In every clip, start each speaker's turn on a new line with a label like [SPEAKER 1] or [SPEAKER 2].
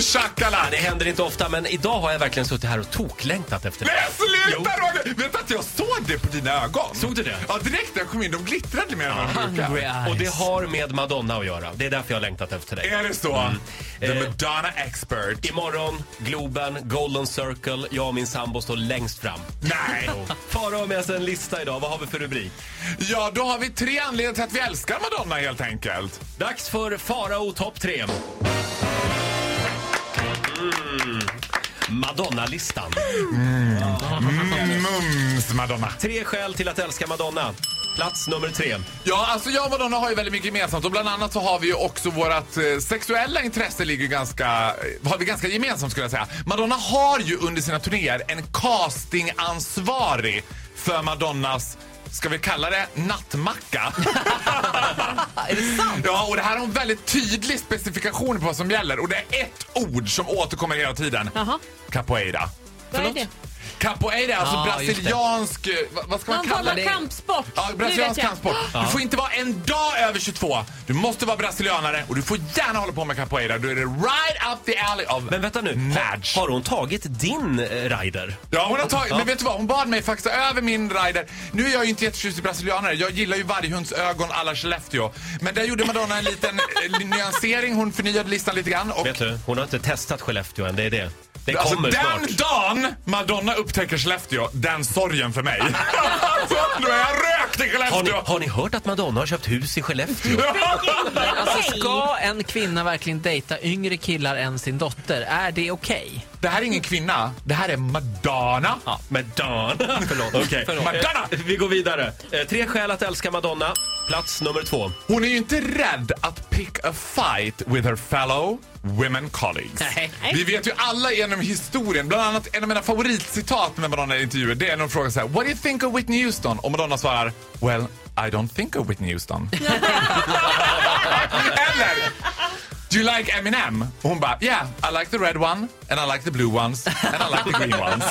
[SPEAKER 1] shakalak!
[SPEAKER 2] Det händer inte ofta, men idag har jag verkligen suttit här och toklängtat efter
[SPEAKER 1] Nej
[SPEAKER 2] det.
[SPEAKER 1] sluta Roger! Vet du att jag såg det på dina ögon?
[SPEAKER 2] Såg du det?
[SPEAKER 1] Ja direkt när jag kom in, de glittrade mer än vad de
[SPEAKER 2] Hungry
[SPEAKER 1] brukar.
[SPEAKER 2] eyes. Och det har med Madonna att göra. Det är därför jag har längtat efter dig.
[SPEAKER 1] Är det så?
[SPEAKER 2] Mm.
[SPEAKER 1] The
[SPEAKER 2] Eh.
[SPEAKER 1] Madonna expert.
[SPEAKER 2] Imorgon, Globen, Golden Circle. Jag och min sambo står längst fram.
[SPEAKER 1] Nej!
[SPEAKER 2] Farao har med sig en lista idag. Vad har vi för rubrik?
[SPEAKER 1] Ja, då har vi tre anledningar till att vi älskar Madonna helt enkelt.
[SPEAKER 2] Dags för Farao topp 3. Mm. Madonna-listan. Mm.
[SPEAKER 1] Mums Madonna.
[SPEAKER 2] Tre skäl till att älska Madonna. Plats nummer tre.
[SPEAKER 1] Ja, alltså jag och Madonna har ju väldigt mycket gemensamt och bland annat så har vi ju också vårat eh, sexuella intresse ligger ganska, eh, har vi ganska gemensamt skulle jag säga. Madonna har ju under sina turnéer en castingansvarig för Madonnas Ska vi kalla det nattmacka?
[SPEAKER 3] Är det sant?
[SPEAKER 1] Ja, och det här har en väldigt tydlig specifikation på vad som gäller. Och det är ett ord som återkommer hela tiden.
[SPEAKER 3] Jaha.
[SPEAKER 1] Capoeira.
[SPEAKER 3] Vad är det?
[SPEAKER 1] Capoeira, alltså
[SPEAKER 3] Ja,
[SPEAKER 1] brasiliansk... eh, vad- Vad ska man
[SPEAKER 3] Någon
[SPEAKER 1] kalla
[SPEAKER 3] form av
[SPEAKER 1] det?
[SPEAKER 3] kampsport.
[SPEAKER 1] Ja,
[SPEAKER 3] Nu vet
[SPEAKER 1] brasiliansk
[SPEAKER 3] jag.
[SPEAKER 1] kampsport. Du får inte vara en dag över 22. Du måste vara brasilianare och du får gärna hålla på med capoeira. Då är det right up the alley of
[SPEAKER 2] Men vänta nu.
[SPEAKER 1] Madge.
[SPEAKER 2] Har, har hon tagit din eh, rider?
[SPEAKER 1] Ja, hon har tagit, men vet du vad? Hon bad mig faxa över min rider. Nu är jag ju inte jättetjust i brasilianare. Jag gillar ju varghunds ögon alla Skellefteå. Men där gjorde Madonna en liten eh, nyansering. Hon förnyade listan lite grann. Och
[SPEAKER 2] Vet du, hon har inte testat Skellefteå än. Det är det. Det
[SPEAKER 1] Alltså,
[SPEAKER 2] kommer
[SPEAKER 1] den
[SPEAKER 2] snart.
[SPEAKER 1] dagen Madonna upptäcker Skellefteå, den sorgen för mig. alltså, då är jag rökt i
[SPEAKER 2] Har ni,
[SPEAKER 1] Skellefteå.
[SPEAKER 2] har ni hört att Madonna har köpt hus i Skellefteå?
[SPEAKER 3] Alltså,
[SPEAKER 4] Okej.
[SPEAKER 3] ska en kvinna verkligen dejta yngre killar än sin dotter? Är det okej?
[SPEAKER 1] Det här är ingen kvinna, det här är Madonna.
[SPEAKER 2] Ja, Madonna. Förlåt. Okay.
[SPEAKER 1] Förlåt. Madonna!
[SPEAKER 2] Vi går vidare. Eh, Tre skäl att älska Madonna. Plats nummer två.
[SPEAKER 1] Hon är ju inte rädd att pick a fight with her fellow women colleagues.
[SPEAKER 3] Nej.
[SPEAKER 1] Vi vet ju alla genom historien, bland annat en av mina favoritcitat med Madonna i intervjuer, det är när hon frågar så här, What do you think of Whitney Houston? Och Madonna svarar Well, I don't think of Whitney Houston. Eller Do you like Eminem? Och hon bara Yeah, I like the red one and I like the blue ones and I like the green ones.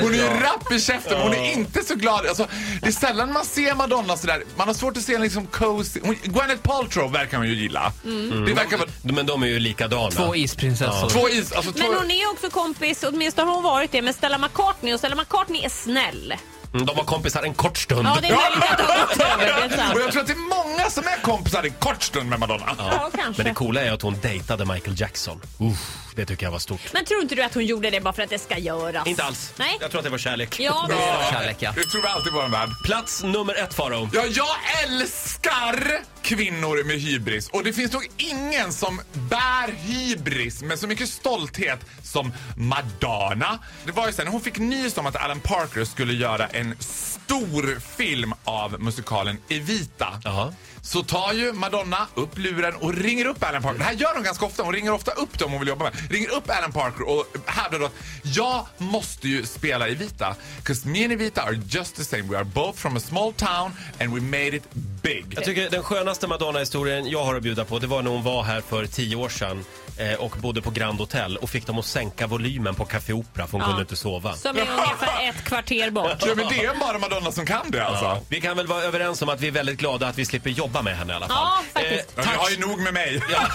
[SPEAKER 1] Hon är ju rapp i käften, hon är inte så glad. Alltså, det är sällan man ser Madonna sådär. Man har svårt att se en liksom cozy... Hon- Gwyneth Paltrow verkar man ju gilla.
[SPEAKER 4] Mm.
[SPEAKER 1] Det verkar vara
[SPEAKER 2] Men de är ju likadana.
[SPEAKER 3] Två isprinsessor.
[SPEAKER 1] två is... Alltså, två...
[SPEAKER 4] Men hon är också kompis, åtminstone har hon varit det, med Stella McCartney och Stella McCartney är snäll.
[SPEAKER 2] Mm, De var kompisar en kort stund.
[SPEAKER 4] Ja, det är möjligt att hon gått över, det är sant.
[SPEAKER 1] Och jag tror att det är många som är kompisar en kort stund med Madonna.
[SPEAKER 4] Ja,
[SPEAKER 2] Men det
[SPEAKER 4] kanske.
[SPEAKER 2] coola är att hon dejtade Michael Jackson. Uff, det tycker jag var stort.
[SPEAKER 4] Men tror inte du att hon gjorde det bara för att det ska göras?
[SPEAKER 2] Inte alls.
[SPEAKER 4] Nej.
[SPEAKER 2] Jag tror att det var kärlek.
[SPEAKER 4] Ja, men-
[SPEAKER 3] Kärlek, ja.
[SPEAKER 1] Det tror vi alltid i vår värld.
[SPEAKER 2] Plats nummer ett, Farao.
[SPEAKER 1] Ja, jag älskar kvinnor med hybris. Och det finns nog ingen som bär hybris med så mycket stolthet som Madonna. Det var ju sen när hon fick nys om att Alan Parker skulle göra en stor film av musikalen Evita.
[SPEAKER 2] Jaha.
[SPEAKER 1] Så tar ju Madonna upp luren och ringer upp Alan Parker. Det här gör hon ganska ofta. Hon ringer ofta upp dem hon vill jobba med. Ringer upp Alan Parker och hävdar då att jag måste ju spela Evita. 'Cause me and Evita are just the same. We are both from a small town and we made it big.
[SPEAKER 2] Jag tycker den skönaste Madonna-historien jag har att bjuda på det var när hon var här för tio år sedan eh, och bodde på Grand Hotel och fick dem att sänka volymen på Café Opera för hon kunde inte sova.
[SPEAKER 4] Som är ungefär ett kvarter bort.
[SPEAKER 1] Ja, men det är bara Madonna som kan det alltså.
[SPEAKER 2] Vi kan väl vara överens om att vi är väldigt glada att vi slipper jobba med henne i alla fall. Eh,
[SPEAKER 4] Ja, faktiskt.
[SPEAKER 1] Ja,
[SPEAKER 2] tack,
[SPEAKER 1] vi har ju nog med mig.
[SPEAKER 2] ja,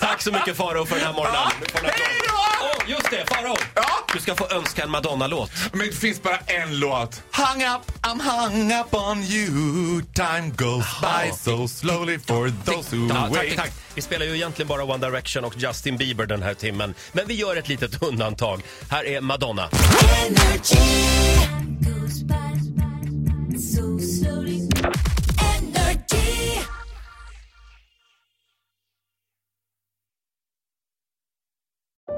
[SPEAKER 2] tack så mycket Faro för den här morgonen. Du får en applåd.
[SPEAKER 1] Hej då!
[SPEAKER 2] Åh, just det, Faro!
[SPEAKER 1] Ja.
[SPEAKER 2] Du ska få önska en Madonna-låt.
[SPEAKER 1] Men det finns bara en låt. Hung up, I'm hung up on you. Time goes by so slowly for those who
[SPEAKER 2] Ja, tack,
[SPEAKER 1] wait.
[SPEAKER 2] tack. Vi spelar ju egentligen bara One Direction och Justin Bieber den här timmen. Men vi gör ett litet undantag. Här är Madonna.